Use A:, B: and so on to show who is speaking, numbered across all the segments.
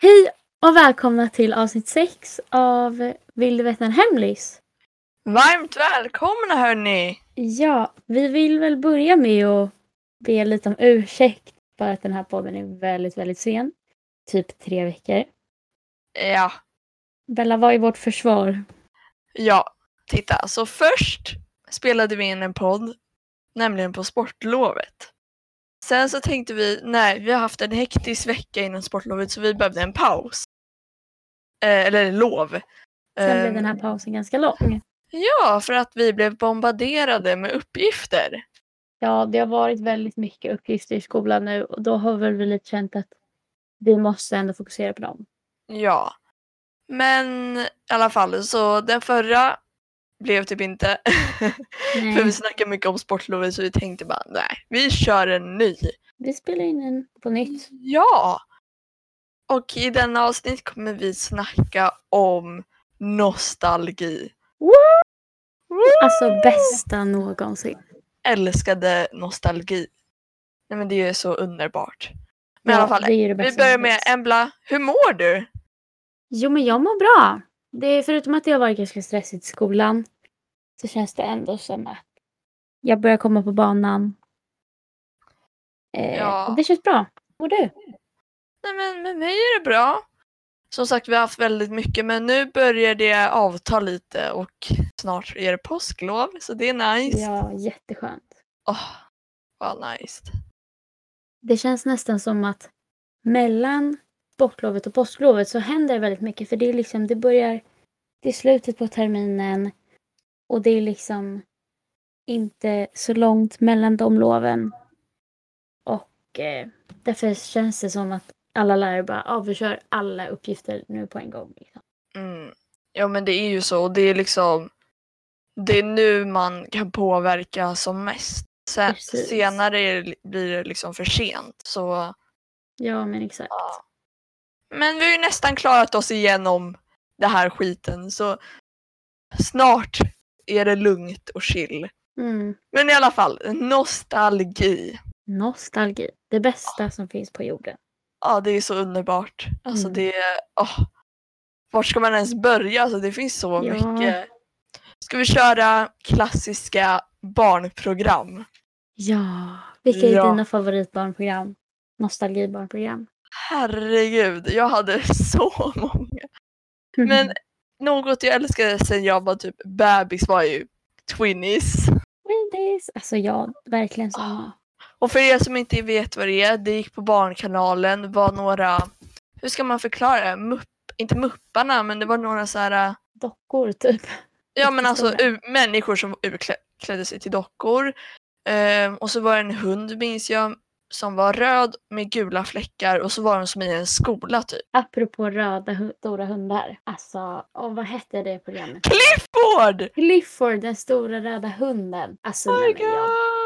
A: Hej och välkomna till avsnitt 6 av Vill du veta en hemlis?
B: Varmt välkomna hörni!
A: Ja, vi vill väl börja med att be lite om ursäkt för att den här podden är väldigt, väldigt sen. Typ tre veckor.
B: Ja,
A: Bella, vad är vårt försvar?
B: ja, titta. Så först spelade vi in en podd, nämligen på sportlovet. Sen så tänkte vi, nej, vi har haft en hektisk vecka innan sportlovet så vi behövde en paus. Eh, eller lov.
A: Sen blev
B: Ehm,
A: den här pausen ganska lång.
B: Ja, för att vi blev bombarderade med uppgifter.
A: Ja, det har varit väldigt mycket uppgifter i skolan nu och då har väl vi lite känt att vi måste ändå fokusera på dem.
B: Ja. Men i alla fall, så den förra blev typ inte. För vi
A: Nej,
B: snackade mycket om sportlovet så vi tänkte bara nej, vi kör en ny.
A: vi spelar in en på nytt.
B: Ja! Och i denna avsnitt kommer vi snacka om nostalgi.
A: Woo!
B: Woo!
A: Alltså bästa någonsin.
B: Älskade nostalgi. Nej men det är så underbart. Men i
A: Ja,
B: alla fall,
A: det är ju det
B: vi
A: bästa
B: börjar
A: som
B: med
A: finns.
B: Embla, hur mår du?
A: Jo, men jag mår bra. Det är, förutom att det har varit ganska stressigt i skolan så känns det ändå som att jag börjar komma på banan. Eh,
B: Ja.
A: och Det känns bra. Mår du?
B: Nej men med mig är det bra. Som sagt vi har haft väldigt mycket men nu börjar det avta lite och snart är det påsklov så det är nice.
A: Ja, jätteskönt.
B: Åh, vad nice.
A: Det känns nästan som att mellan sportlovet och påsklovet så händer det väldigt mycket för det är liksom, det börjar, det är slutet på terminen och det är liksom inte så långt mellan de loven. Och eh, därför känns det som att alla lärare bara, ja vi kör alla uppgifter nu på en gång. Liksom.
B: Mm. Ja men det är ju så och det är liksom det är nu man kan påverka som mest. Sen,
A: Precis.
B: senare är det, blir det liksom för sent. Så,
A: Ja men exakt.
B: ja. Men vi har ju nästan klarat oss igenom det här skiten så snart är det lugnt och chill.
A: Mm.
B: Men i alla fall, nostalgi.
A: Nostalgi, det bästa som finns på jorden.
B: Ja det är så underbart. Alltså
A: Mm.
B: det är, åh. Vart ska man ens börja? Alltså det finns så
A: Ja.
B: mycket. Ska vi köra klassiska barnprogram?
A: Ja, vilka är
B: Ja.
A: dina favoritbarnprogram? Nostalgibarnprogram?
B: Herregud, jag hade så många.
A: Mm.
B: Men något jag älskade sen jag var typ bebis var ju Twinnies.
A: Wendy's. Alltså ja, verkligen
B: Ah.
A: samma.
B: Och för er som inte vet vad det är, det gick på Barnkanalen, var några, hur ska man förklara det? Mupp, inte Mupparna, men det var några så här
A: Dockor typ.
B: Ja men alltså
A: Jättestora.
B: u- människor som utklädde sig till dockor. Ehm, och så var det en hund minns jag som var röd med gula fläckar och så var de som i en skola typ.
A: Apropå röda hu- stora hundar. Alltså, åh, vad hette det programmet?
B: Clifford!
A: Clifford, den stora röda hunden. Alltså
B: Oh my
A: nej, men jag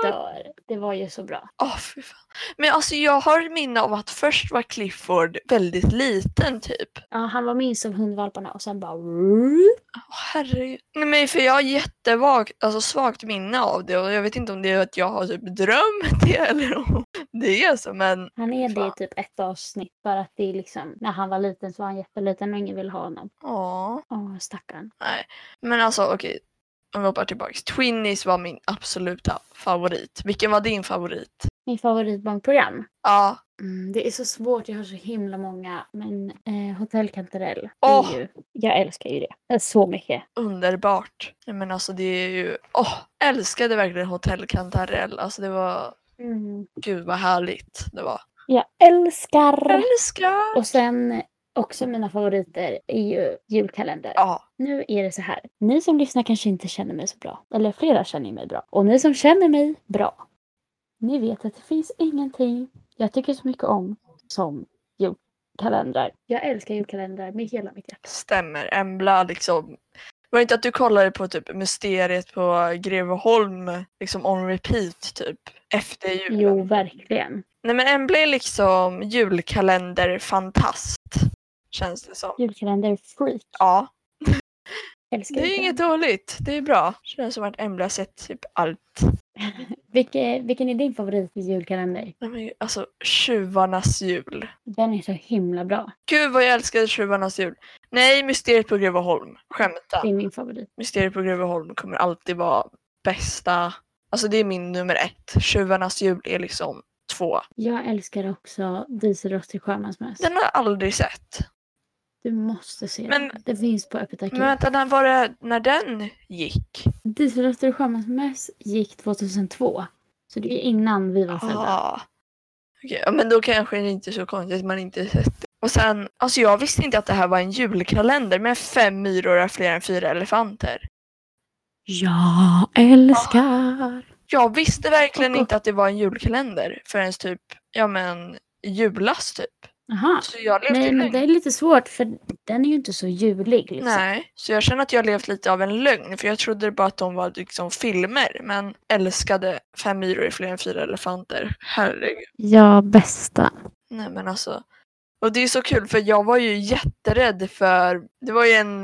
B: god!
A: dör. Det var ju så bra.
B: Åh fy fan. Men alltså jag har ett minne av att först var Clifford väldigt liten typ.
A: Ja, han var minst av hundvalparna och sen bara...
B: Åh herregud. Nej men för jag har jättevagt, alltså svagt minne av det och jag vet inte om det är att jag har typ drömt det eller om det är så men
A: Han är det i
B: Fan.
A: typ ett avsnitt för att det är liksom när han var liten så var han jätteliten och ingen ville ha honom.
B: ja.
A: Åh, stackarn.
B: Men alltså okej, om vi hoppar tillbaks. Twinnies var min absoluta favorit. Vilken var din favorit?
A: Min favoritbarnprogram.
B: Ja,
A: Mm, det är så svårt, jag har så himla många. Men eh, Hotell Kantarell, det
B: Åh!
A: är ju, jag älskar ju det Eh, så mycket.
B: underbart. Nej, Men alltså det är ju, åh, älskade verkligen Hotell Kantarell. Alltså det var,
A: Mm.
B: gud vad härligt det var.
A: Jag älskar!
B: Älskar!
A: Och sen också mina favoriter är ju julkalender.
B: Ja,
A: Nu är det så här, ni som lyssnar kanske inte känner mig så bra. Eller flera känner ju mig bra. Och ni som känner mig bra, ni vet att det finns ingenting jag tycker så mycket om som julkalendrar. Jag älskar julkalendrar med hela mitt hjärta.
B: stämmer. Embla liksom. Var det inte att du kollade på typ Mysteriet på Greveholm liksom on repeat typ efter julen?
A: Jo, verkligen.
B: Nej men Embla är liksom julkalenderfantast känns det som.
A: Julkalender-freak.
B: Ja.
A: Älskar
B: Det är inget dåligt, det är bra. Känns som att Embla har sett typ allt.
A: julkalender. Vilke, vilken är din favorit i julkalender?
B: Nej, men, alltså Tjuvarnas jul.
A: Den är så himla bra.
B: Gud vad jag älskade Tjuvarnas jul. Nej, Mysteriet på Greveholm. Skämta.
A: Det är min favorit.
B: Mysteriet på Greveholm kommer alltid vara bästa. Alltså det är min nummer ett. Tjuvarnas jul är liksom två.
A: Jag älskar också Dieselrost i Stjärnans möss.
B: Den har jag aldrig sett.
A: Du måste se
B: Men-
A: den. Den finns på Öppet arkiv.
B: Men vänta, när var det när den gick?
A: Dieselrost i Stjärnans möss gick 2002. Så det är innan vi var födda.
B: Ah. Okej, ja, men då kanske det inte är så konstigt att man inte sett det. Och sen, alltså jag visste inte att det här var en julkalender med fem myror är fler än fyra elefanter.
A: Jag
B: Ah.
A: älskar!
B: Jag visste verkligen
A: Och- och-
B: inte att det var en julkalender förrän typ, ja men julas typ.
A: Jaha.
B: Så jag levde
A: Nej,
B: i
A: men
B: lögn.
A: det är lite svårt för den är ju inte så julig. Liksom.
B: Nej, så jag känner att jag levt lite av en lögn för jag trodde bara att de var liksom filmer men älskade Fem myror är fler än fyra elefanter. Herregud.
A: Ja, bästa.
B: Nej men alltså. Och det är så kul för jag var ju jätterädd för, det var ju en,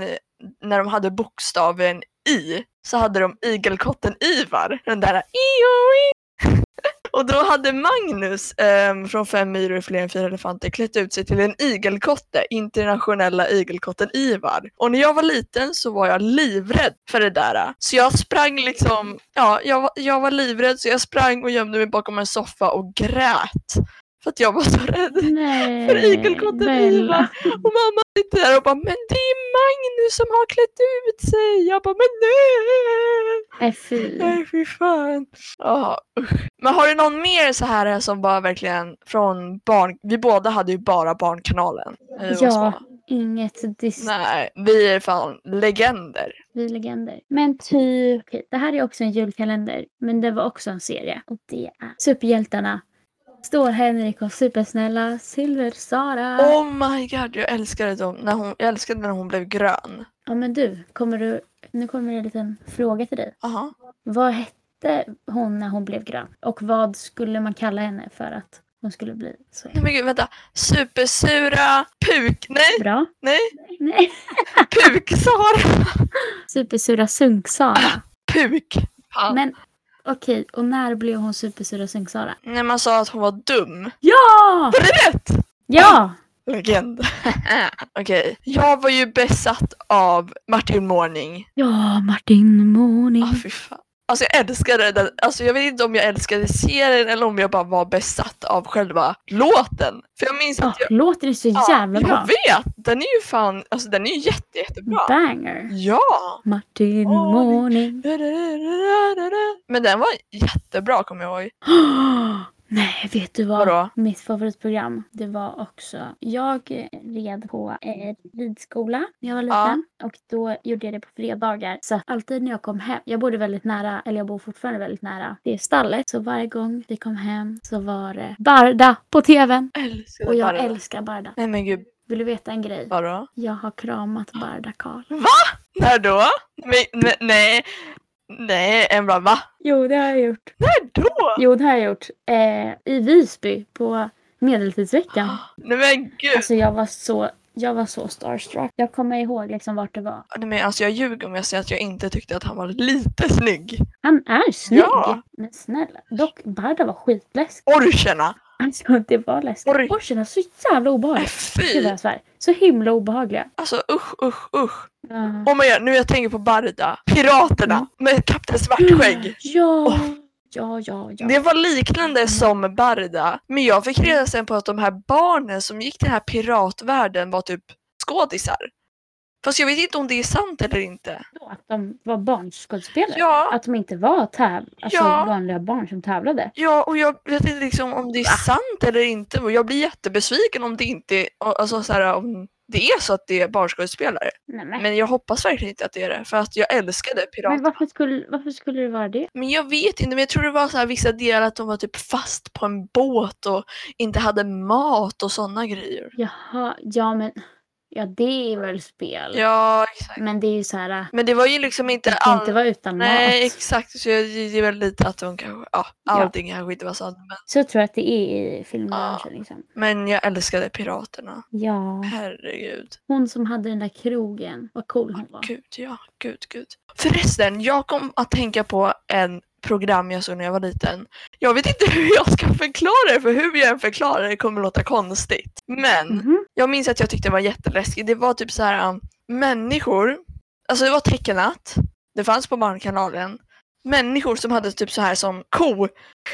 B: när de hade bokstaven i, så hade de igelkotten Ivar, den där ioi. Och då hade Magnus ehm, från Fem myror fler än fyra elefanter klätt ut sig till en igelkotte, internationella igelkotten Ivar. Och när jag var liten så var jag livrädd för det där. Så jag sprang liksom, ja jag, var- jag var livrädd så jag sprang och gömde mig bakom en soffa och grät. För att jag var så rädd.
A: Nej,
B: För igelkotten
A: Bella.
B: Ivar. Och mamma sitter där och bara “men det är Magnus som har klätt ut sig”. Jag bara “men nej!”
A: Nej, fy.
B: Nej fy fan. Ja, usch. Men har du någon mer så här eh, som bara verkligen från barn... Vi båda hade ju bara Barnkanalen. när vi var
A: Ja.
B: små.
A: Inget diss.
B: Nej, vi är fan legender.
A: Vi legender. Men typ, okej, det här är också en julkalender, men det var också en serie. Och det är Superhjältarna. Står Henrik och Supersnälla, Silver-Sara.
B: Oh my god, jag älskade dem. När hon, jag älskade när hon blev grön.
A: Ja men du, kommer du, nu kommer det en liten fråga till dig.
B: Aha.
A: Vad hette hon när hon blev grön? Och vad skulle man kalla henne för att hon skulle bli så?
B: Nej men gud, vänta. Supersura Puk... Nej,
A: Bra.
B: nej.
A: Nej.
B: Puk-Sara.
A: Supersura Sunk-Sara.
B: Puk. Fan.
A: Men okej, och när blev hon Supersura Sunk-Sara?
B: När man sa att hon var dum.
A: Ja!
B: Var det rätt?
A: Ja!
B: Legend. Okej. Jag var ju besatt av Martin Morning.
A: Ja, Martin Måning.
B: Ah, fy fan. Alltså jag älskade den. Alltså jag vet inte om jag älskade serien eller om jag bara var besatt av själva låten. För jag minns
A: Ja,
B: att jag...
A: låten är så
B: ja,
A: Ah, jävla
B: jag
A: bra. Mm,
B: vet! Den är ju fan... Alltså den är ju jätte, jättebra.
A: Banger.
B: Ja!
A: Martin
B: Åh, det-
A: Måning.
B: Men den var jättebra kommer jag ihåg.
A: Nej, vet du vad?
B: Vadå?
A: Mitt favoritprogram, det var också... Jag eh, red på eh, ridskola när jag var liten. Och då gjorde jag det på fredagar. Så att alltid när jag kom hem, jag bodde väldigt nära, eller jag bor fortfarande väldigt nära, det stallet. Så varje gång vi kom hem så var det Barda på tvn.
B: Älskade
A: Och jag
B: Barda.
A: älskar Barda.
B: Nej men gud,
A: Vill du veta en grej?
B: vadå?
A: Jag har kramat Barda Karl.
B: När då? Men, men, nej. Nej, en bra va?
A: Jo, det har jag gjort.
B: När då?
A: Jo, det har jag gjort. Eh, I Visby på Medeltidsveckan.
B: Nej men gud.
A: Alltså jag var så, jag var så starstruck. Jag kommer ihåg liksom vart det var.
B: Nej, men alltså jag ljuger om jag säger att jag inte tyckte att han var lite snygg.
A: Han är snygg!
B: Ja.
A: Men snälla. Dock, Barda var skitläskig.
B: Orcherna!
A: Alltså det var
B: Oj.
A: läskigt. Porschen är så jävla
B: Nej
A: obehaglig. Gud vad
B: fy!
A: jag svär. Så himla obehagliga.
B: Alltså usch usch usch.
A: Ja.
B: Oh my God, nu jag tänker på Barda. Piraterna
A: Mm.
B: med Kapten Svartskägg.
A: Ja,
B: Åh.
A: ja, ja, ja.
B: Det var liknande som Barda. Men jag fick reda sen på att de här barnen som gick till den här piratvärlden var typ skådisar. Fast jag vet inte om det är sant eller inte.
A: Då Att de var barnskådespelare.
B: Ja,
A: Att de inte var täv- alltså
B: Ja.
A: vanliga barn som tävlade.
B: ja och jag vet inte liksom om det är sant eller inte. Och jag blir jättebesviken om det inte är, alltså så här, om det är så att det är barnskådespelare.
A: Nej, men, men,
B: Men jag hoppas verkligen inte att det är det, för att jag älskade pirater. Men,
A: varför, skulle, varför skulle det vara det?
B: jag vet inte, men jag tror det var så här vissa delar att de var typ fast på en båt och inte hade mat och sådana grejer.
A: Jaha, ja men. Ja det är väl spel.
B: Ja, exakt.
A: Men det är ju så här. äh,
B: Men det var ju liksom inte
A: Det kan inte
B: allt.
A: vara utan
B: Nej,
A: mat.
B: exakt. Så jag ger väl lite att de kanske, ja, allting kanske inte var sant. Men,
A: Så jag tror att det är i filmbranschen. Liksom.
B: men jag älskade piraterna.
A: Ja.
B: Herregud.
A: Hon som hade den där krogen. Vad cool hon var.
B: Gud, ja. Gud, gud. Förresten, jag kom att tänka på en program jag såg när jag var liten. Jag vet inte hur jag ska förklara det, för hur jag än förklarar det kommer låta konstigt. Men
A: Mhm.
B: jag minns att jag tyckte det var jätteläskigt. Det var typ så här um, människor, alltså det var tecknat, det fanns på Barnkanalen, människor som hade typ så här som ko,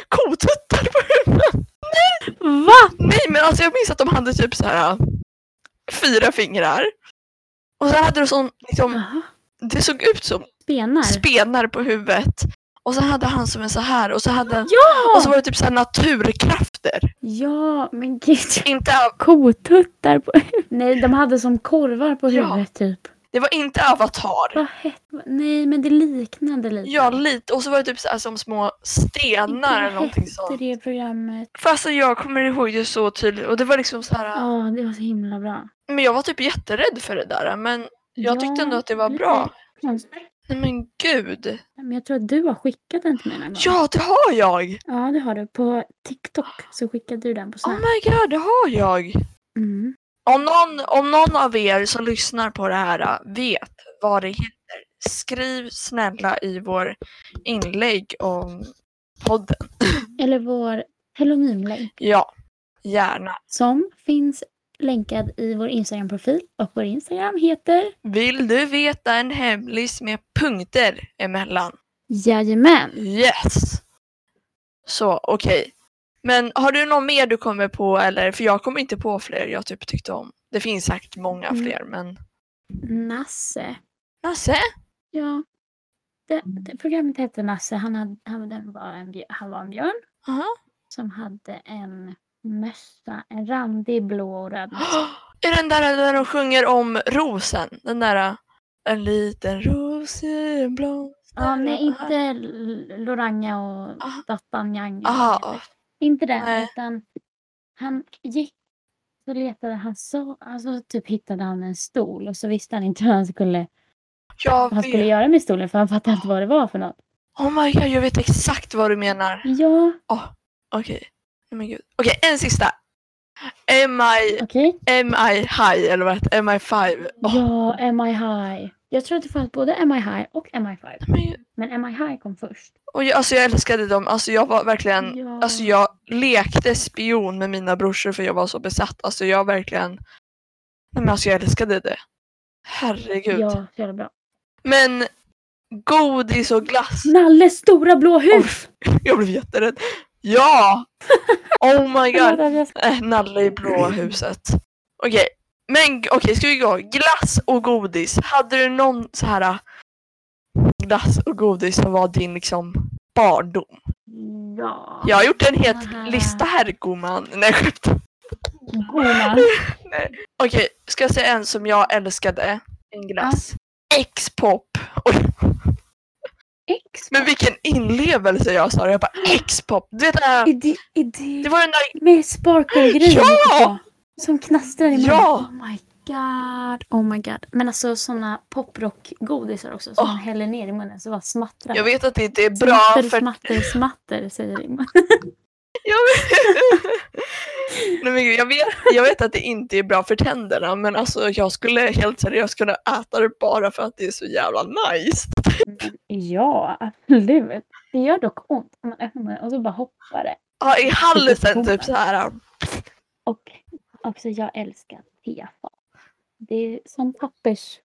B: kotuttar på huvudet.
A: Va?
B: Nej men alltså jag minns att de hade typ så här uh, fyra fingrar. Och så hade de sån, liksom,
A: Jaha.
B: det såg ut som
A: Spenar?
B: spenar på huvudet. Och så hade han som en så här och så hade han,
A: ja!
B: och så var det typ så här naturkrafter.
A: Ja, men gud.
B: Inte, av-
A: Kotuttar på Nej, de hade som korvar på
B: Ja.
A: huvudet typ.
B: det var inte avatar.
A: Vad hette Nej, men det liknade lite.
B: Ja, lite. Och så var det typ så här som små stenar eller någonting
A: Vad
B: sånt.
A: hette det programmet?
B: Fast alltså, jag kommer ihåg det så tydligt. Och det var liksom så här.
A: Ja, det var så himla bra.
B: Men jag var typ jätterädd för det där. Men jag tyckte ändå att det var bra. Nej men gud.
A: Men jag tror att du har skickat den till mig någon gång.
B: Ja, det har jag!
A: ja, det har du. På TikTok så skickade du den på
B: Oh
A: Snap.
B: my god, det har jag!
A: Mm.
B: Om någon, om någon av er som lyssnar på det här äh, vet vad det heter, skriv snälla i vår inlägg om podden.
A: Eller vår telonymlänk
B: Ja, gärna.
A: som finns länkad i vår Instagram-profil och vår Instagram heter
B: Vill du veta en hemlis med punkter emellan?
A: Jajamän.
B: Yes! Så okej. Men har du någon mer du kommer på eller? För jag kommer inte på fler jag typ tyckte om. Det finns säkert många
A: Mm.
B: fler men.
A: Nasse.
B: Nasse?
A: Ja. Det, det programmet hette Nasse. Han, hade, han, den var en, björ- han var en björn
B: Aha.
A: som hade en mössa. En randig blå och röd mössa.
B: Är den där där de sjunger om rosen? Den där äh, en liten rosenblom.
A: Ja, nej, inte L- Loranga och
B: Ah.
A: Dattanjang.
B: Aha.
A: Inte den,
B: Nej.
A: utan han gick så letade han så, alltså typ hittade han en stol och så visste han inte hur han skulle, vad
B: Jag
A: han skulle
B: vet.
A: göra med stolen för han fattade inte vad det var för något.
B: Oh my god, jag vet exakt vad du menar.
A: Ja,
B: Okej. Nej, men gud. Okej, en sista. Am I,
A: okej.
B: am I high eller vad heter det? Am I five? Oh Åh,
A: Ja, Am I High. Jag tror att det fanns både Am I High och Am I Five.
B: nej, men,
A: Men Am I High kom först.
B: och jag, alltså jag älskade dem. Alltså jag var verkligen,
A: Ja.
B: alltså jag lekte spion med mina brorsor för jag var så besatt. Alltså jag verkligen, nej men alltså jag älskade det. Herregud.
A: Ja, så jävla bra.
B: Men godis och glass.
A: Nalles stora blå hus!
B: Jag blev jätterädd. Ja! Oh my god.
A: Förlåt att jag ska-
B: Äh, Nalle i blåa huset. Okej. Men okej, ska vi gå? Glass och godis. Hade du någon så här äh, glass och godis som var din liksom barndom?
A: Ja.
B: Jag har gjort en het
A: Aha.
B: lista här gumman. Nej skämt.
A: Gumman.
B: Okej, ska jag säga en som jag älskade? En glass. X-pop. Oj,
A: X.
B: Men vilken inlevelse jag sa det. Jag bara X-pop. Du vet den här-
A: Är det, är det...
B: Det var den där
A: Med sparkle-grejen
B: Ja!
A: också, Som knastrar i munnen.
B: Ja!
A: Oh my god. Oh my god. Men alltså såna poprock-godisar också som
B: Åh.
A: man häller ner i munnen så bara smattrar.
B: Jag
A: det.
B: vet att det inte är bra
A: smatter,
B: för...
A: smatter, smatter säger det. i munnen.
B: Jag vet... Nej, men gud, jag, vet, jag vet att det inte är bra för tänderna men alltså jag skulle helt seriöst kunna äta det bara för att det är så jävla nice.
A: Ja, absolut. Det gör dock ont om man öppnar munnen och så bara hoppar det.
B: Ja, I halsen
A: Supergoda.
B: typ så här.
A: Och också jag älskar tefat. Det är som pappers...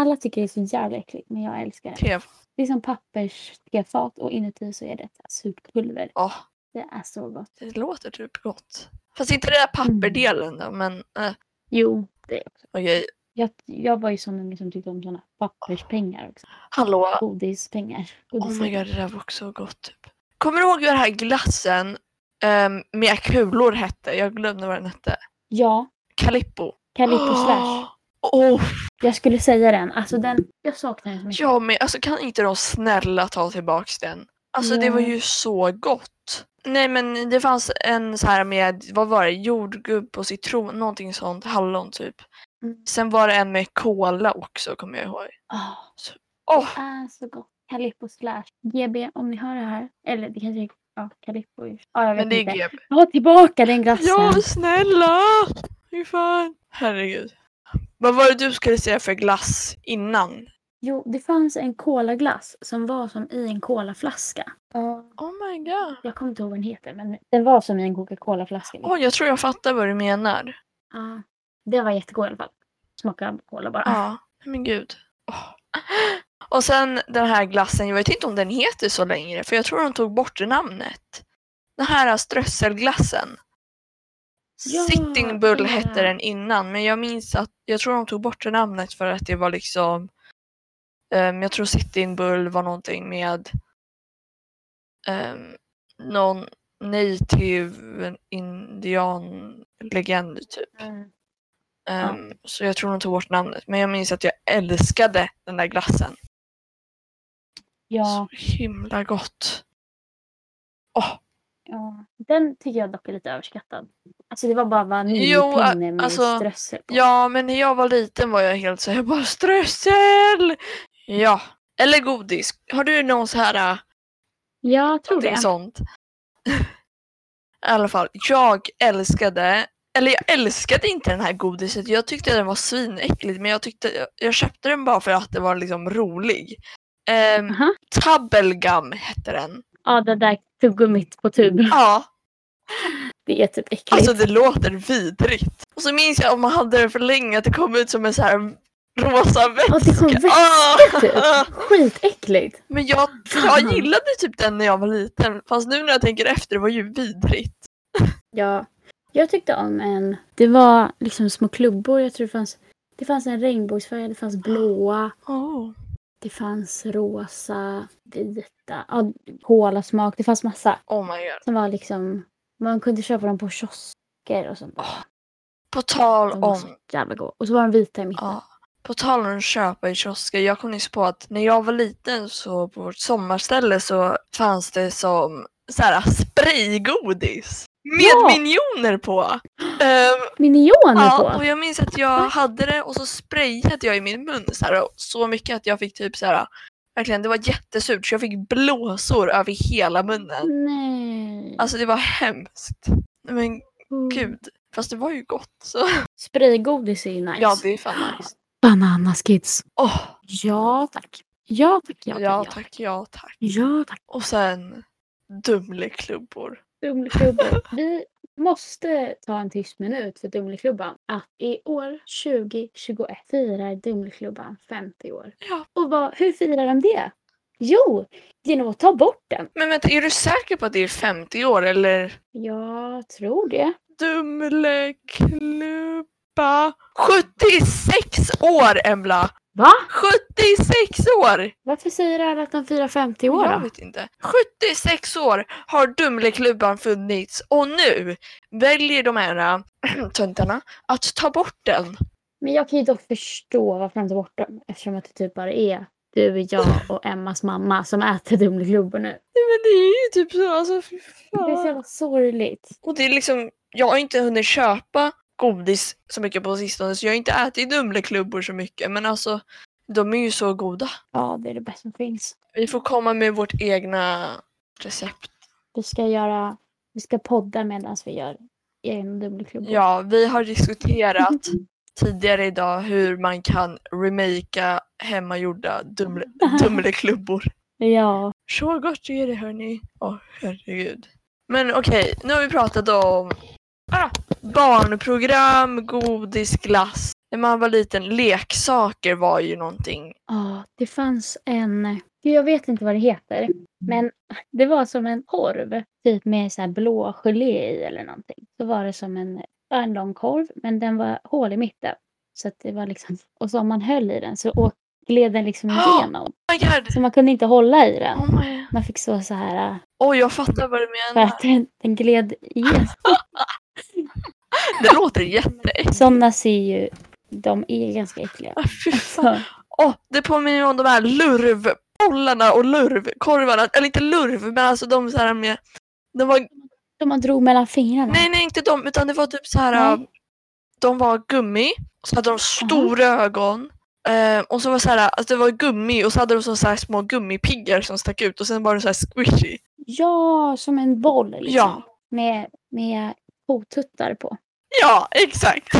A: Alla tycker det är så jävla äckligt men jag älskar det.
B: Tev.
A: Det är som pappers-tefat och inuti så är det ett surt pulver.
B: Ja,
A: Det är så gott.
B: det låter typ gott. Fast inte den där papperdelen då men eh,
A: Jo, det är också.
B: okej.
A: Jag, jag var ju sån unge som tyckte om såna papperspengar också.
B: Hallå.
A: Godispengar.
B: Ah. Oh
A: Godis.
B: my god det där var också gott typ. Kommer du ihåg den här glassen ehm, med kulor hette? Jag glömde vad den hette.
A: ja,
B: Calippo. Ah.
A: Calippo Slash.
B: Åh,
A: Jag skulle säga den. Alltså den, jag saknar den så mycket.
B: Ja men alltså kan inte de snälla ta tillbaks den? Alltså det var
A: Ja.
B: ju så gott. Nej men det fanns en så här med, vad var det, jordgubb och citron, någonting sånt, hallon typ.
A: Mm.
B: Sen var det en med kola också kommer jag ihåg.
A: Ah,
B: Åh,
A: det är så gott. Calippo Slash. GB, om ni hör det här. Eller det kanske är ja, Calippo. i- Ja, jag vet
B: men det är
A: inte.
B: GB.
A: Ta tillbaka den glassen.
B: Ja snälla! Hur fan? Herregud. Vad var det du skulle säga för glass innan?
A: Jo, det fanns en kolaglass som var som i en kolaflaska. Ja.
B: Oh my god.
A: Jag kommer inte ihåg vad den heter, men den var som i en Coca-Cola-flaska. liksom.
B: Åh, jag tror jag fattar vad du menar.
A: Ja. Det var jättegod i alla fall. Smaka cola bara.
B: Ja, men gud. Åh. Och sen den här glassen, jag vet inte om den heter så längre för jag tror de tog bort namnet. Den här strösselglassen.
A: Ja,
B: Sitting Bull
A: den här.
B: hette den innan men jag minns att jag tror de tog bort det namnet för att det var liksom ehm, jag tror Sitting Bull var någonting med um, någon native indian-legend typ.
A: Mm.
B: Ehm, Så jag tror de tog bort namnet. Men jag minns att jag älskade den där glassen.
A: Ja,
B: Så himla gott. Åh,
A: ja. Den tycker jag dock är lite överskattad. Alltså det var bara
B: Jo, a-
A: vanilj med
B: alltså,
A: strössel på.
B: ja men när jag var liten var jag helt så här, jag bara strössel! Ja. Eller godis. Har du någon så här, äh,
A: Jag tror
B: någonting
A: det.
B: sånt? I alla fall, jag älskade, eller jag älskade inte den här godiset. Jag tyckte den var svinäcklig men jag tyckte, jag, jag köpte den bara för att det var liksom rolig. Um,
A: Aha.
B: Tabbelgum hette den.
A: Ja, det där tuggummit på tub.
B: Ja.
A: Det är typ äckligt.
B: Alltså det låter vidrigt. Och så minns jag om man hade det för länge att det kom ut som en så här rosa väska.
A: och det kom
B: Ah!
A: vätska typ. Skitäckligt.
B: Men jag, jag gillade typ den när jag var liten. Fast nu när jag tänker efter, det var ju vidrigt.
A: Ja. Jag tyckte om en, det var liksom små klubbor. Jag tror det fanns, det fanns en regnbågsfärgad, det fanns blåa,
B: Oh.
A: det fanns rosa, vita, ja, kolasmak. Det fanns massa.
B: oh my god.
A: Som var liksom, man kunde köpa dem på kiosker och sånt. där.
B: På tal
A: De var
B: om,
A: så jävla goda. Och så var de vita i mitten.
B: ja, på tal om att köpa i kiosker. Jag kom nyss på att när jag var liten så på vårt sommarställe så fanns det som så här spraygodis. Med
A: Ja.
B: miljoner på. Ehm,
A: Minioner
B: Ja,
A: på!
B: och jag minns att jag hade det och så sprayade jag i min mun så, här, och så mycket att jag fick typ så här. Verkligen, det var jättesurt så jag fick blåsor över hela munnen.
A: Nej.
B: Alltså det var hemskt. Nej, Men
A: Mm.
B: gud. Fast det var ju gott. Så.
A: Spraygodis är ju nice.
B: Ja, det är fan nice.
A: Bananaskids.
B: Åh,
A: Ja tack. Ja tack, ja
B: ja,
A: tack.
B: tack, ja tack.
A: Ja tack.
B: Och sen Dumleklubbor.
A: Dumleklubban. Vi måste ta en tyst minut för Dumleklubban. Att i år 2021 firar Dumleklubban 50 år.
B: Ja.
A: Och vad, hur firar de det? Jo, genom att ta bort den.
B: Men vänta, är du säker på att det är 50 år eller?
A: Jag tror det.
B: Dumleklubba. 76 år Embla!
A: Va?
B: 76 år!
A: Varför säger alla att de firar 50 år då?
B: Jag vet inte. 76 år har Dumleklubban funnits och nu väljer de här äh, töntarna att ta bort den.
A: Men jag kan ju dock förstå varför de tar bort dem eftersom att det typ bara är du, jag och Emmas mamma som äter Dumleklubbor nu.
B: Nej, men det är ju typ så, alltså fy
A: Det är så
B: fan.
A: jävla sorgligt.
B: Och det är liksom, jag har inte hunnit köpa godis så mycket på sistone så jag har inte ätit Dumleklubbor så mycket men alltså de är ju så goda.
A: Ja, det är det bästa som finns.
B: Vi får komma med vårt egna recept.
A: Vi ska göra, vi ska podda medan vi gör egna Dumleklubbor.
B: Ja, vi har diskuterat tidigare idag hur man kan remakea hemmagjorda dumle, Dumleklubbor.
A: Ja.
B: Så gott är det hörni. Åh herregud. Men okej, nu har vi pratat om ah, barnprogram, godis, glass. När man var liten, leksaker var ju någonting.
A: Ja, det fanns en, Gud, jag vet inte vad det heter, men det var som en korv, typ med så här blå gelé i eller någonting. Så var det som en, bara en lång korv, men den var hål i mitten. Så att det var liksom, och så om man höll i den så åk, gled den liksom
B: Ja.
A: igenom.
B: Oh my god!
A: Så man kunde inte hålla i den.
B: Oh my.
A: Man fick stå så här äh,
B: Oj, jag fattar vad du
A: för
B: menar.
A: att den, den gled igenom.
B: Det låter jätteäckligt.
A: Sådana ser ju, de är ganska äckliga.
B: Ah, Fy fan.
A: Så,
B: Åh, det påminner om de här lurvbollarna och lurvkorvarna. Eller inte lurv, men alltså de så här med... De var,
A: de man drog mellan fingrarna.
B: nej, nej, inte de, utan det var typ så här...
A: Nej.
B: De var gummi, och så hade de stora ögon. Eh, och så var det så här, alltså det var gummi och så hade de så här små gummipiggar som stack ut och sen var det så här squishy.
A: Ja, som en boll liksom.
B: Ja,
A: Med, med kotuttar på.
B: ja exakt.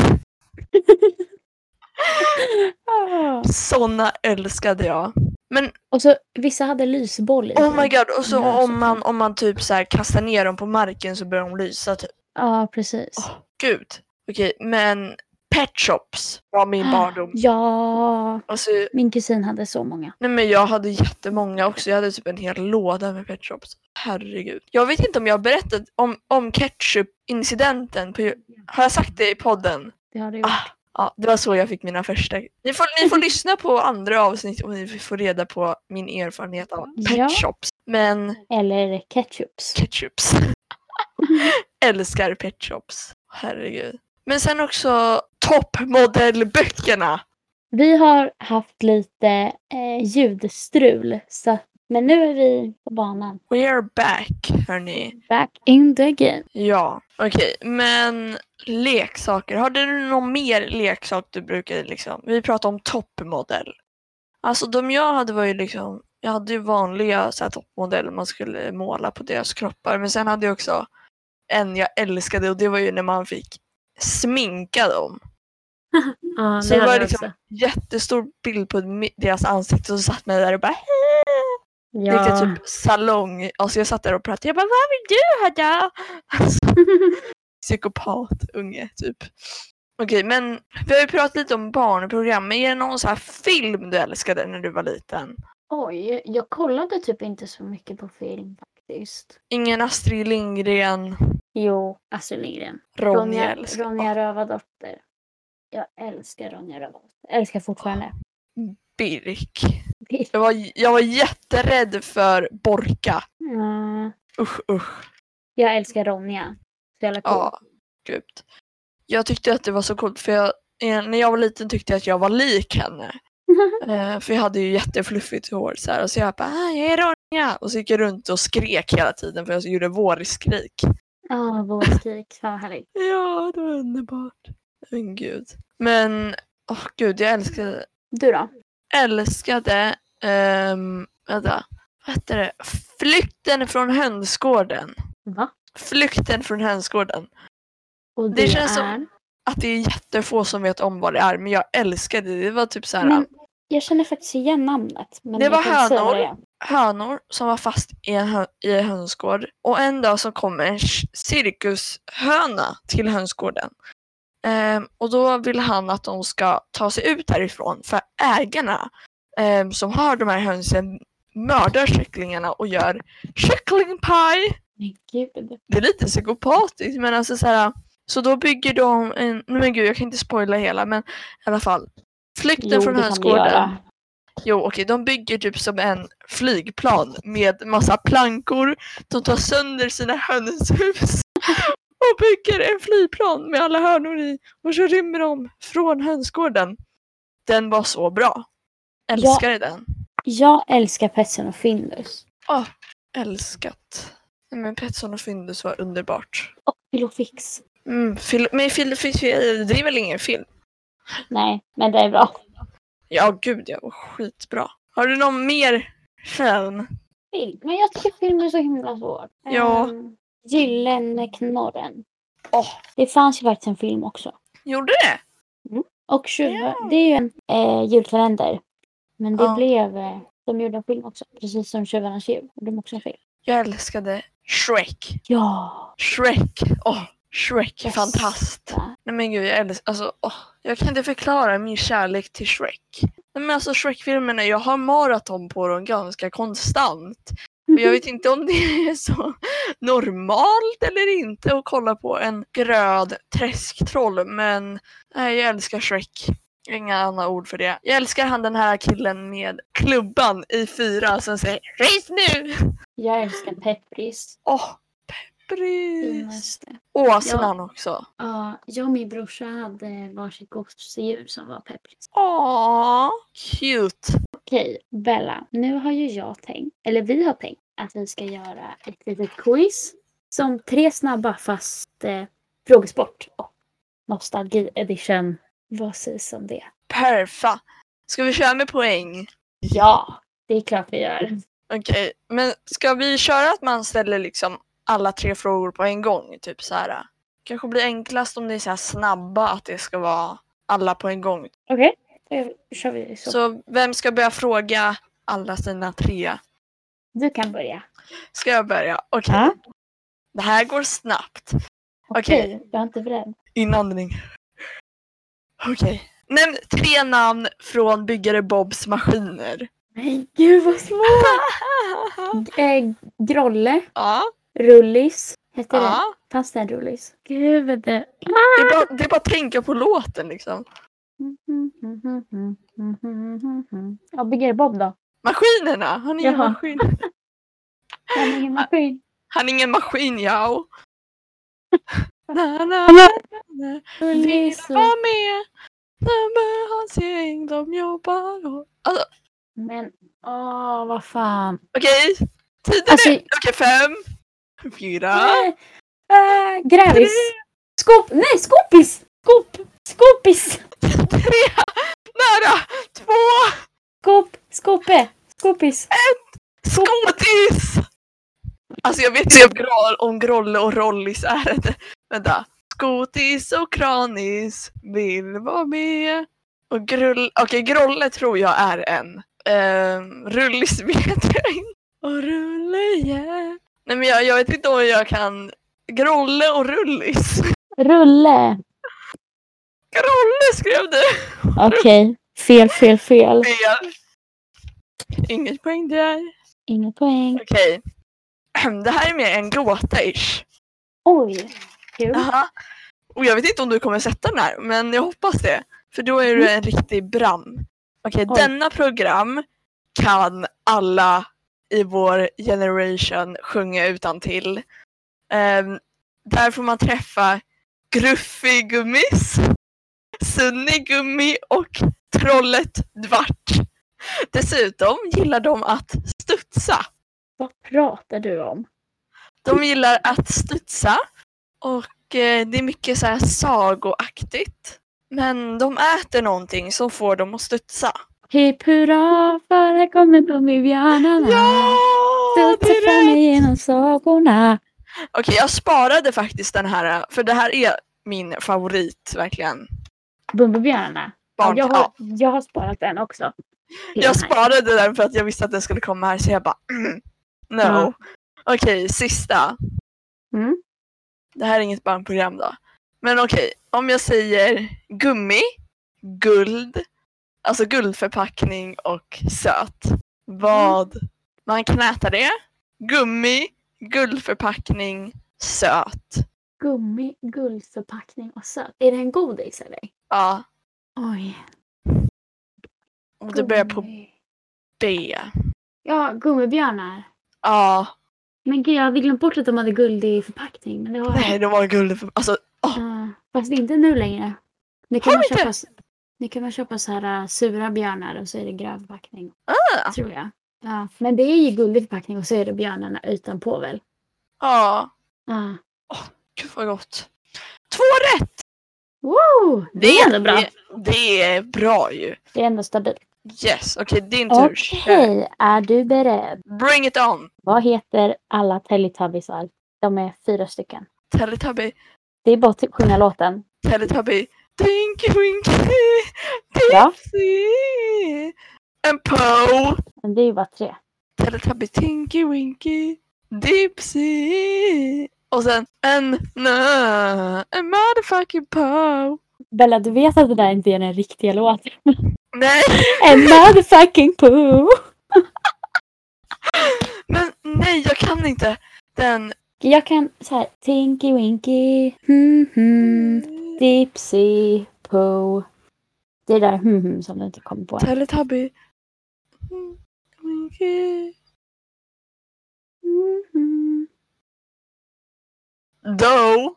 B: Såna älskade jag. Men
A: Och så vissa hade lysboll i
B: oh
A: sig.
B: my god, och så
A: Den här
B: om man, om man typ så här kastar ner dem på marken så börjar de lysa typ.
A: Ja, precis.
B: Åh, gud. Okej, men Pet Shops var min barndom.
A: Ja,
B: Alltså,
A: min kusin hade så många.
B: nej men jag hade jättemånga också. Jag hade typ en hel låda med Pet Shops. Herregud. Jag vet inte om jag har berättat om, om ketchup-incidenten. På, har jag sagt det i podden?
A: Det har det ju
B: Ah.
A: varit.
B: Ja, det var så jag fick mina första. Ni får, ni får lyssna på andra avsnitt om ni får reda på min erfarenhet av Pet
A: Ja.
B: Shops. Men
A: Eller ketchups.
B: ketchups. Älskar pet shops. Herregud. Men sen också toppmodellböckerna.
A: Vi har haft lite eh, ljudstrul, så, men nu är vi på banan.
B: We're back hörni.
A: Back in the game.
B: Ja, okej. Men leksaker. Har du någon mer leksak du brukade liksom? Vi pratar om toppmodell. Alltså de jag hade var ju liksom, jag hade ju vanliga så här, toppmodeller man skulle måla på deras kroppar. Men sen hade jag också en jag älskade och det var ju när man fick sminka dem.
A: Ja,
B: Så det var liksom jättestor bild på mi- deras ansikte och så satt man där och bara ja.
A: Ja.
B: Riktigt typ salong. Alltså jag satt där och pratade. Jag bara vad vill du ha då? Alltså, psykopat unge typ. Okej men vi har ju pratat lite om barnprogram. Men är det någon så här film du älskade när du var liten?
A: Oj, jag kollade typ inte så mycket på film faktiskt.
B: Ingen Astrid Lindgren,
A: Jo, Astrid Lindgren.
B: Ronja
A: Ronja,
B: älskar
A: Ronja Rövardotter. Jag älskar Ronja Rövardotter. Älskar fortfarande.
B: Birk. Jag var, jag var jätterädd för Borka.
A: Ja,
B: Usch usch.
A: jag älskar Ronja. Så jävla cool.
B: Ja, gud. Jag tyckte att det var så coolt för jag, eh, när jag var liten tyckte jag att jag var lik henne. Eh, för jag hade ju jättefluffigt hår så här, och så jag bara ah, “jag är Ronja” och så gick jag runt och skrek hela tiden för jag gjorde vårskrik.
A: Ja, vårskrik. Fan vad härligt.
B: Ja, det var underbart. Men gud. Men, åh gud, jag älskade,
A: Du då?
B: älskade, ehm, vänta, vad hette det? Flykten från hönsgården.
A: Va?
B: Flykten från hönsgården.
A: Och
B: Det
A: det,
B: känns som-
A: är...
B: att det är jättefå som vet om vad det är, men jag älskade det. Det var typ så här
A: Men jag känner faktiskt igen namnet. Men
B: Det
A: jag
B: var
A: kan inte säga vad
B: hönor.
A: det är.
B: hönor som var fast i en, hö- i en hönsgård och en dag så kom en sh- cirkushöna till hönsgården. Ehm, och då vill han att de ska ta sig ut härifrån för ägarna ehm, som har de här hönsen mördar kycklingarna och gör kycklingpaj.
A: Men gud.
B: det är lite psykopatiskt men alltså så här. Så då bygger de en, nej men gud jag kan inte spoila hela men i alla fall. Flykten
A: Jo,
B: från
A: det kan vi
B: hönsgården.
A: göra.
B: Jo okej, de bygger typ som en flygplan med massa plankor. De tar sönder sina hönshus och bygger en flygplan med alla hönor i och så rymmer de från hönsgården. Den var så bra. Älskade den.
A: Jag älskar Petsen och Findus.
B: Älskat. Nej, Men Petson och Findus var underbart.
A: Och Pilofix.
B: Mm, fil- men fil- fil- fil- det är väl ingen film?
A: Nej, men det är bra.
B: Ja, gud ja. och Skitbra. Har du någon mer film?
A: Film. Men jag tycker film är så himla svårt.
B: Ja.
A: Um, Gyllene knorren.
B: Åh.
A: Det fanns ju faktiskt en film också.
B: Gjorde det?
A: Och 20,
B: Ja.
A: det är ju en eh, julkalender. Men det
B: Ja.
A: blev... Eh, de gjorde en film också. Precis som Tjuvarnas jul. Och de också en film.
B: Jag älskade Shrek.
A: Ja.
B: Shrek. Åh, Shrek.
A: Yes.
B: Fantast.
A: Va?
B: Nej men gud, jag älskar... Alltså, åh, jag kan inte förklara min kärlek till Shrek. Nej men alltså Shrek-filmerna, jag har maraton på dem ganska konstant. Och jag vet inte om det är så normalt eller inte att kolla på en gröd träsktroll men nej, jag älskar Shrek. Inga andra ord för det. Jag älskar han den här killen med klubban i fyra som säger Res nu!
A: Jag älskar Peppris.
B: Åh, peppris!
A: Finaste.
B: Åsnan också.
A: Ja, jag och min brorsa hade varsitt gosedjur som var Peppris.
B: Åh, cute!
A: Okej, Bella. Nu har ju jag tänkt, eller vi har tänkt, att vi ska göra ett litet quiz. Som tre snabba fast eh, frågesport och nostalgi edition. Vad sägs om det?
B: Perfa! Ska vi köra med poäng?
A: Ja, Mm. det är klart vi gör.
B: Okej, men ska vi köra att man ställer liksom alla tre frågor på en gång? Typ så här. Kanske blir enklast om det är så här snabba, att det ska vara alla på en gång.
A: Okej. Då kör vi så.
B: Så vem ska börja fråga alla sina tre?
A: Du kan börja.
B: Ska jag börja? Okej.
A: Ja.
B: Det här går snabbt. Okej.
A: Okej, jag är inte beredd.
B: Inandning. Okej. Nämn tre namn från byggare Bobs maskiner.
A: Men gud vad små! Ah, eh, Grolle,
B: ja,
A: Rullis. Hette det?
B: ja.
A: Fanns det en Rullis? Gud. det-
B: Det är, bara, det är bara att tänka på låten liksom.
A: Mm, Ja, Bigger Bob då?
B: Maskinerna! Han är ingen
A: Jaha.
B: maskin.
A: Han är ingen maskin.
B: Han är ingen maskin, jao. na, na, na. Vill
A: Rullis. och-
B: vara med när med hans gäng de jobbar och... Alltså,
A: Men åh, vad fan.
B: Okej, tiden
A: Alltså-
B: är... Okej, fem, fyra,
A: Nej. Äh, grävis. Skop. Nej, skopis! Skop. Skopis.
B: tre, nära, två,
A: Skop. Skope. Skopis.
B: skådis! Alltså jag vet inte om Gro- om Grolle och Rollis är det. Vänta. Skotis och Kranis vill vara med. Och Grull... Okej, Grolle tror jag är en. Ehm, Rullis vet jag inte. Och Rulle yeah. Nej men jag, jag vet inte om jag kan... Grolle och Rullis.
A: Rulle.
B: Grolle skrev du!
A: Okej. Fel, fel, fel.
B: Fel. Inget poäng där.
A: Inga poäng.
B: Okej. Det här är mer en gåta-ish.
A: Oj. Kul.
B: Jaha. Och jag vet inte om du kommer sätta den här, men jag hoppas det. För då är du en riktig bram. Okej,
A: Oj.
B: denna program kan alla i vår generation sjunga utan till. Ehm, där får man träffa Gruffy Gummis, Sunny Gummi och Trollet Dvart. Dessutom gillar de att studsa.
A: Vad pratar du om?
B: De gillar att studsa och eh, det är mycket så här sagoaktigt. Men de äter någonting som får dem att studsa.
A: Hipp hurra för här kommer gummibjörnarna.
B: Ja! det
A: Studsa
B: är
A: fram
B: rätt!
A: genom sagorna.
B: Okej, jag sparade faktiskt den här för det här är min favorit verkligen.
A: Bumbibjörnarna. Ja,
B: Barn.
A: jag, har,
B: ja,
A: jag har sparat den också. Till
B: jag
A: den här.
B: sparade den för att jag visste att den skulle komma här så jag bara mm, no.
A: Ja.
B: Okej, sista.
A: Mm.
B: Det här är inget barnprogram då. Men okej, om jag säger gummi, guld, alltså guldförpackning och söt. Vad?
A: Mm.
B: Man kan äta det. Gummi, guldförpackning, söt.
A: Gummi, guldförpackning och söt. Är det en godis eller?
B: Ja,
A: Oj.
B: och det börjar på
A: gummi.
B: B.
A: Ja, gummibjörnar.
B: Ja,
A: Men gud, jag hade glömt bort att de hade guld i förpackning. Men det har
B: nej det var guldförpackning. Alltså,
A: Ja, fast inte nu längre. Nu kan,
B: Har
A: man
B: vi inte?
A: köpa, s- nu kan man köpa så här äh, sura björnar och så är det grön förpackning.
B: Ah.
A: Tror jag. Ja, men det är ju guldig förpackning och så är det björnarna utanpå väl?
B: ja,
A: Ja.
B: gud vad gott. Två rätt!
A: Wow! Det är ändå bra.
B: Det, det är bra ju.
A: Det är ändå stabilt.
B: Yes, okej din tur. Kör.
A: Okej, är du beredd?
B: Bring it on!
A: Vad heter alla Teletubbiesar? De är fyra stycken.
B: Teletubby,
A: Det är bara att sjunga låten.
B: Teletubby. Dinky Winky,
A: Ja.
B: Dipsy, and Poe.
A: Men det är ju bara tre.
B: Teletubby, Tinky Winky, Dipsy. Och sen en nö, en motherfucking Poe.
A: Bella, du vet att det där inte är den riktiga låten?
B: Nej,
A: En motherfucking poo!
B: men nej jag kan inte den.
A: Jag kan så här, Tinky Winky, hmm, hmm, Dipsy, Pooh. Det är där hmm, hmm, som du inte kommer på.
B: Teletubby. Winky.
A: Hmm, hmm.
B: Doe.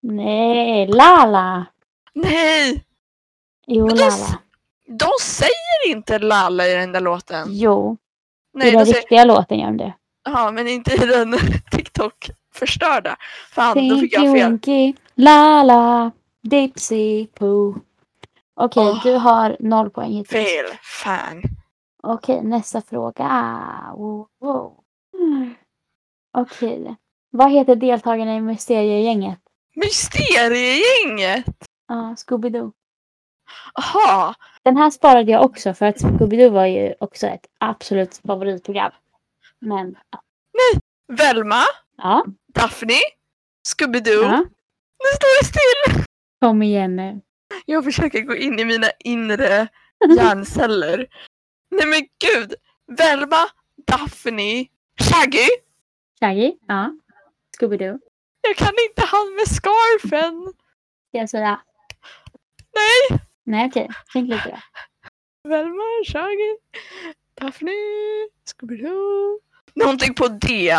A: Nej, Lala!
B: Nej,
A: Jo,
B: Men det är s-
A: Lala.
B: de säger inte lalla i den där låten.
A: Jo,
B: Nej,
A: i den
B: de säger
A: riktiga låten gör de det.
B: Ja, men inte i den TikTok-förstörda. Fan, då fick
A: Tinky
B: jag fel.
A: Winky, Lala, Dipsy, Pooh. Okej,
B: Åh.
A: du har noll poäng hittills.
B: Fel. Fan.
A: Okej, nästa fråga. Wow, wow. Mm. Okej. Vad heter deltagarna i Mysteriegänget?
B: Mysteriegänget!
A: Ja, Scooby-Doo.
B: Aha,
A: Den här sparade jag också för att Scooby-Doo var ju också ett absolut favoritprogram. Men
B: Velma,
A: ja,
B: Daphne, Scooby-Doo.
A: ja.
B: Nu står det still!
A: kom igen nu.
B: Jag försöker gå in i mina inre hjärnceller. Nej men gud! Velma, Daphne, Shaggy!
A: Shaggy, ja. Scooby-Doo,
B: Jag kan inte han med scarfen!
A: ska jag säga.
B: Nej!
A: Nej okej, tänk lite då.
B: Velma, Shaggy, Daphne, Scooby-Doo. Någonting på D.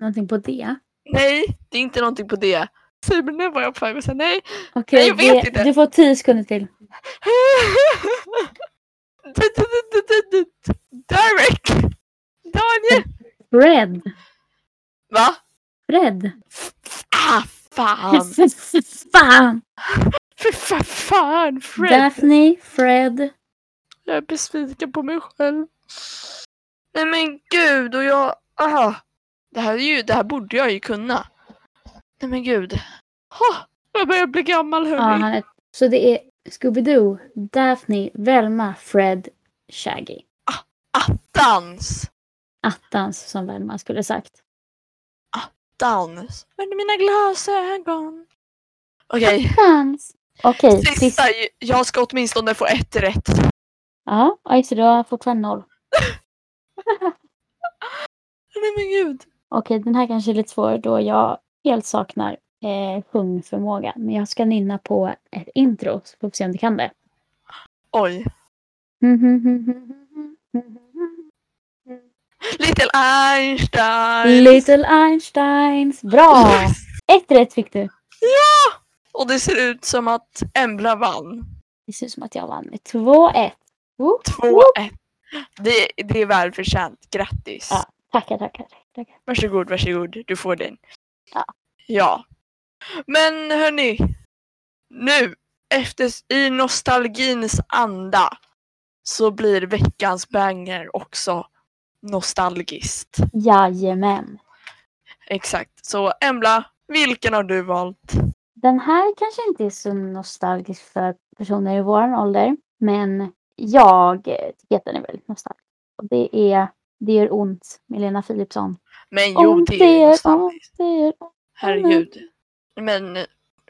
A: Någonting på det?
B: Nej, det är inte någonting på D. Simon, nu var jag på väg att säga nej. Nej,
A: Okej,
B: jag vet
A: det-
B: inte.
A: du får tio sekunder till.
B: Derek! Daniel!
A: Fred,
B: Va?
A: Fred.
B: Ah, fan!
A: Fan!
B: Fy fa- fan, Fred!
A: Daphne, Fred.
B: Jag är besviken på mig själv. Nej men gud, och jag... Aha. Det här, är ju, det här borde jag ju kunna. Nej men gud. Ha, jag börjar bli gammal
A: Ja,
B: hörni.
A: han är... Så det är Scooby-Doo, Daphne, Velma, Fred, Shaggy.
B: Dans!
A: Attans som Velma skulle sagt.
B: Dans! Vänd mina glasögon. Okej,
A: Attans! Okej, sista.
B: sista. ju- Jag ska åtminstone få ett rätt.
A: Ja, oj, så du har fortfarande noll.
B: Nej men gud.
A: Okej, den här kanske är lite svår då jag helt saknar eh, sjungförmåga. Men jag ska nynna på ett intro så får vi se om du kan det.
B: Oj. Little Einstein!
A: Little Einsteins. Bra! Ett rätt fick du.
B: Ja! Och det ser ut som att Embla vann.
A: Det ser ut som att jag vann med 2-1. Woop, woop.
B: 2-1. Det, det är välförtjänt. Grattis.
A: Ja. Tackar, tackar. tackar.
B: Varsågod, varsågod. Du får den.
A: Ja.
B: Ja. Men hörni. Nu, efter, i nostalgins anda, så blir veckans banger också nostalgiskt.
A: Jajamän.
B: Exakt. Så Embla, vilken har du valt?
A: Den här kanske inte är så nostalgisk för personer i vår ålder. Men jag eh, tycker att den är väldigt nostalgisk. Och det är Det gör ont med Lena Philipsson.
B: Men jo,
A: Om
B: det är ju
A: gör
B: nostalgiskt.
A: ont, det gör ont.
B: Herregud. Men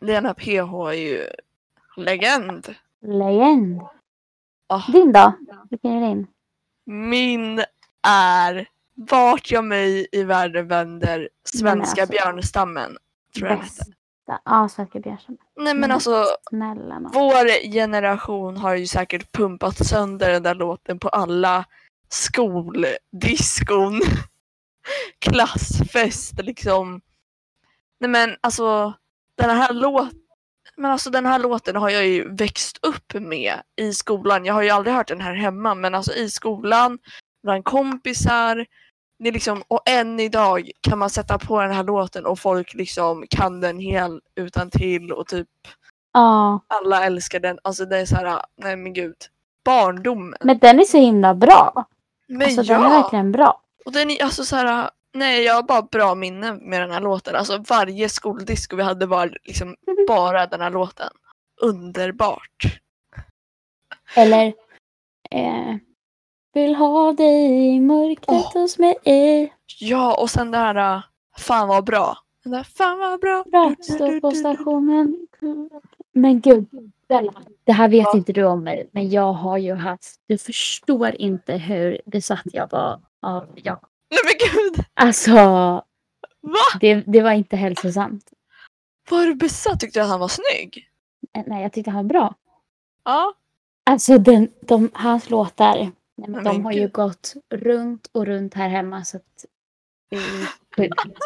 B: Lena PH är ju legend.
A: Legend.
B: Ah,
A: Din då? Vilken är din?
B: min är Vart jag mig i världen vänder, Svenska
A: alltså.
B: björnstammen. Tror jag den hette.
A: Bästa. Ja, Sverker Björnsson.
B: Nej men
A: Men
B: alltså,
A: Snälla nån.
B: vår generation har ju säkert pumpat sönder den där låten på alla skoldiskon. Klassfest liksom. Nej men alltså, den här låten men alltså den här låten har jag ju växt upp med i skolan. Jag har ju aldrig hört den här hemma men alltså i skolan, bland kompisar. Det är liksom, och än idag kan man sätta på den här låten och folk liksom kan den hel utan till och typ
A: Ja,
B: alla älskar den. Alltså det är så här, nej men gud. Barndomen.
A: men den är så himla bra.
B: Men
A: Alltså
B: ja!
A: den är verkligen bra.
B: Och den är alltså så här, nej jag har bara bra minnen med den här låten. Alltså varje skoldisco vi hade var liksom bara den här låten. Underbart.
A: Eller eh, Vill ha dig i mörkret
B: Åh.
A: hos mig.
B: Ja, och sen det här, äh, fan vad bra. Den där, fan vad bra.
A: Bra, stå på stationen. Men gud, Bella, det här vet
B: Ja.
A: inte du om mig, men jag har ju haft, du förstår inte hur besatt jag var av Jakob.
B: Nej men gud!
A: Alltså,
B: Va?
A: det, det var inte hälsosamt.
B: Var du besatt? Tyckte du att han var snygg?
A: Nej, jag tyckte han var bra.
B: Ja.
A: Alltså den, de, hans låtar, nej, men
B: Men
A: de har ju
B: gud.
A: gått runt och runt här hemma så att det är sjukt.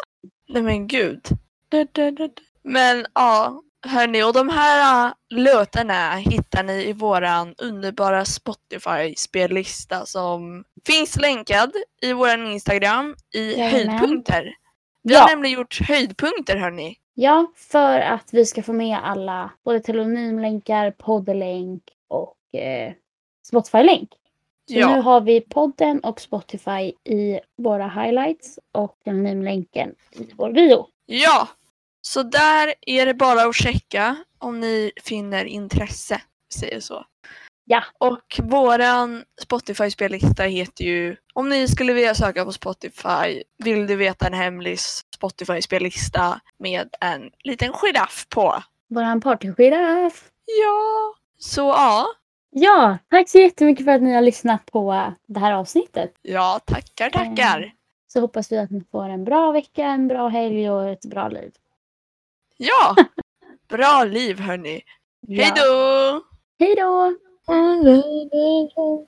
B: Nej men gud. Da, da, da, da. Men ja, hörni, och de här äh, låtarna hittar ni i våran underbara Spotify-spellista som finns länkad i våran Instagram i
A: Jajamän.
B: höjdpunkter. Vi har
A: Ja,
B: nämligen gjort höjdpunkter hörni.
A: ja, för att vi ska få med alla, både telonymlänkar, poddlänk och eh, Spotify-länk. Så nu
B: Ja,
A: har vi podden och Spotify i våra highlights och telonymlänken i vår bio.
B: ja. Så där är det bara att checka om ni finner intresse, vi säger så.
A: Ja.
B: Och våran Spotify-spellista heter ju, om ni skulle vilja söka på Spotify, vill du veta en hemlig Spotify-spellista med en liten giraff på?
A: Våran partygiraff.
B: Ja, så ja.
A: Ja, tack så jättemycket för att ni har lyssnat på eh, det här avsnittet.
B: Ja, tackar, tackar.
A: Mm. Så hoppas vi att ni får en bra vecka, en bra helg och ett bra liv.
B: Ja! Bra liv hörni. Hej
A: Ja.
B: då!
A: Hej då!